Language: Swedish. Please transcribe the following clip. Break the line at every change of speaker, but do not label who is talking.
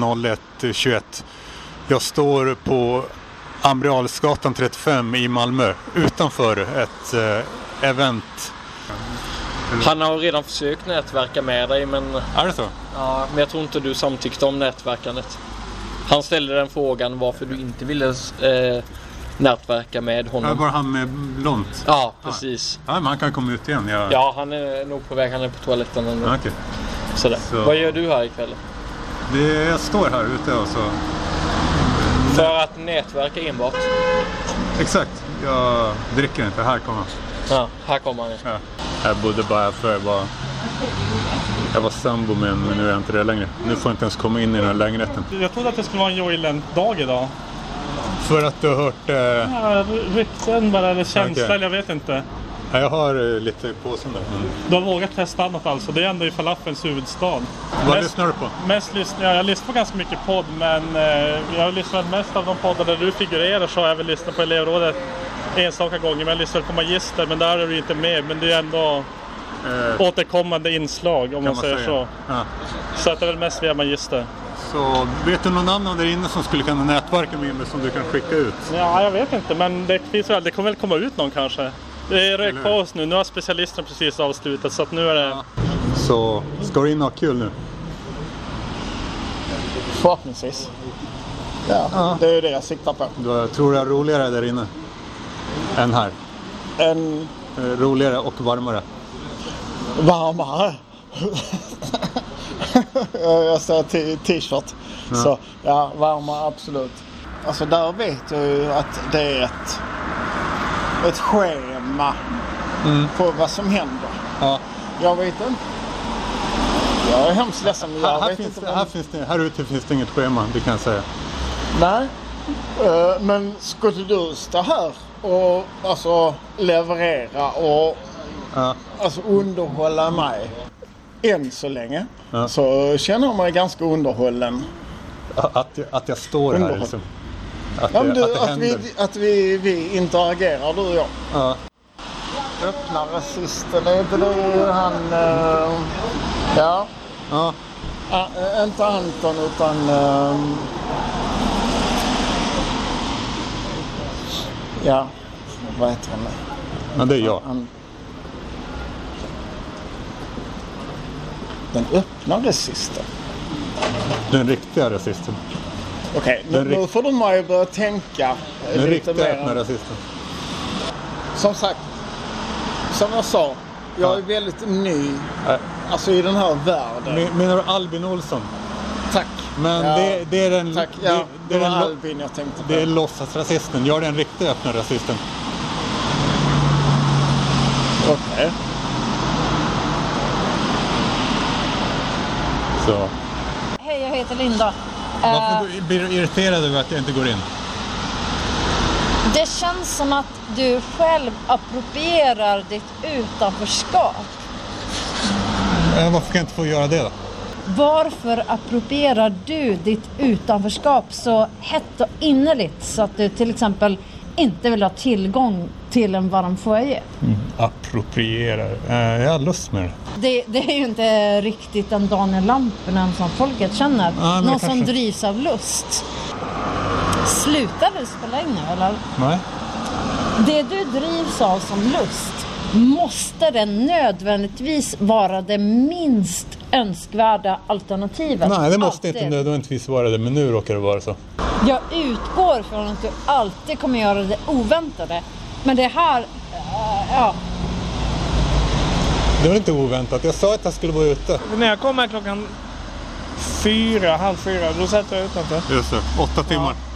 17.01.21. Jag står på Ambrialsgatan 35 i Malmö utanför ett eh, event.
Han har redan försökt nätverka med dig men,
Är det så?
ja, men jag tror inte du samtyckte om nätverkandet. Han ställde den frågan varför du inte ville eh, nätverka med
Här
honom.
var han med blont.
Ja, precis.
Ja, men han kan komma ut igen. Jag...
Ja, han är nog på väg. Han är på toaletten. ändå.
Ja, okej.
Sådär.
Så-
Vad gör du här ikväll?
det, jag står här ute och så...
För att nätverka enbart.
Exakt. Jag dricker inte. Här kommer han.
Ja, här kommer han.
Ja. Jag bodde bara här förr. Jag var, jag var sambo med en, men nu är jag inte det längre. Nu får jag inte ens komma in i den här lägenheten.
Jag trodde att det skulle vara en Joyland-dag idag.
För att du har hört... Eh,
Ja, rykten bara, eller känsla,
Okej.
eller jag vet inte.
jag har eh, lite i påsen där. Mm.
Du har vågat testa annat alltså. Det är ändå i falafelns huvudstad.
Vad
Mest-
lyssnar du på?
Mest lyssnar jag, jag lyssnar på ganska mycket podd men eh, jag har lyssnat mest av de poddar där du figurerar så har jag väl lyssnat på elevrådet enstaka gånger. Men jag lyssnade på Magister men där är du inte med. Men det är ändå
Eh,
återkommande inslag om man, säger så.
Ja.
Så att det är väl mest via Magister.
Så vet du någon annan där inne som skulle kunna nätverka med mig som du kan skicka ut?
Ja, jag vet inte men det finns väl, det kommer väl komma ut någon kanske. Det är
Eller
rök
hur?
på oss nu, nu har specialisten precis avslutat så att nu är det...
Så ska du in och ha kul nu?
Förhoppningsvis. Ja, Det är ju det jag siktar på.
Du, jag tror det är roligare där inne. Än här.
En
Eh, Roligare och varmare.
varmare. jag jag står i t- t-shirt. Så ja, varmare absolut. Alltså där vet jag ju att det är ett, ett schema på vad som händer.
Ja.
Jag vet inte. Jag är hemskt ledsen. men Jag
Här, här,
vet
finns,
inte
det-
vad-
här, finns det, här ute finns det inget schema, det kan jag säga.
Nej, Eh, men skulle du stå här och alltså, leverera och
Ja.
alltså, underhålla mig än så länge
Ja.
så känner jag mig ganska underhållen.
Att, att jag står här
Underbart.
liksom. Att,
Ja, men
det-
du,
att det
att
händer.
vi, att vi, vi interagerar du och jag.
Ja.
Öppna rasisten, är inte du han... eh, ja,
Ja.
Ah, eh, inte Anton utan... eh, ja, vad heter han nu?
Men det är jag.
Han... Den öppna rasisten.
Den riktiga rasisten.
Okej, nu,
Den rikt-
nu får du mig att börja tänka eh,
Den
lite
riktiga öppna
mer.
rasisten.
Som sagt, som jag sa, jag
Ja.
är väldigt ny
Nej.
alltså i den här världen.
Men- Menar du Albin Olsson?
Tack.
Men
Ja,
det, det är den...
Tack, ja.
det, det
Det
är
var
den lo-
Albin jag tänkte på.
det är låtsasrasisten. Jag är den riktiga öppna rasisten.
Okej.
Så.
Hej, jag heter Linda. Eh,
Varför blir du irriterad över att jag inte går in?
det känns som att du själv approprierar ditt utanförskap.
Eh, Varför kan jag inte få göra det då?
Varför approprierar du ditt utanförskap så hett och innerligt så att du till exempel inte vill ha tillgång till en varm foyer?
Mm. Approprierar. Eh, Jag har lust med det.
Det, det är ju inte riktigt en Daniel Lampinen som folket känner.
men
Någon
kanske.
som drivs av lust. Sluta väl spela in nu eller?
Nej.
Det du drivs av som lust, måste det nödvändigtvis vara det minst önskvärda alternativet?
Nej, det måste
Alltid.
inte nödvändigtvis vara det, men nu råkar det vara så.
Jag utgår från att du alltid kommer göra det oväntade. Men det här, eh, ja,
Det var inte oväntat. Jag sa att jag skulle vara ute.
När jag kom här klockan fyra, halv fyra, då satt jag utanför.
Just det. Åtta timmar.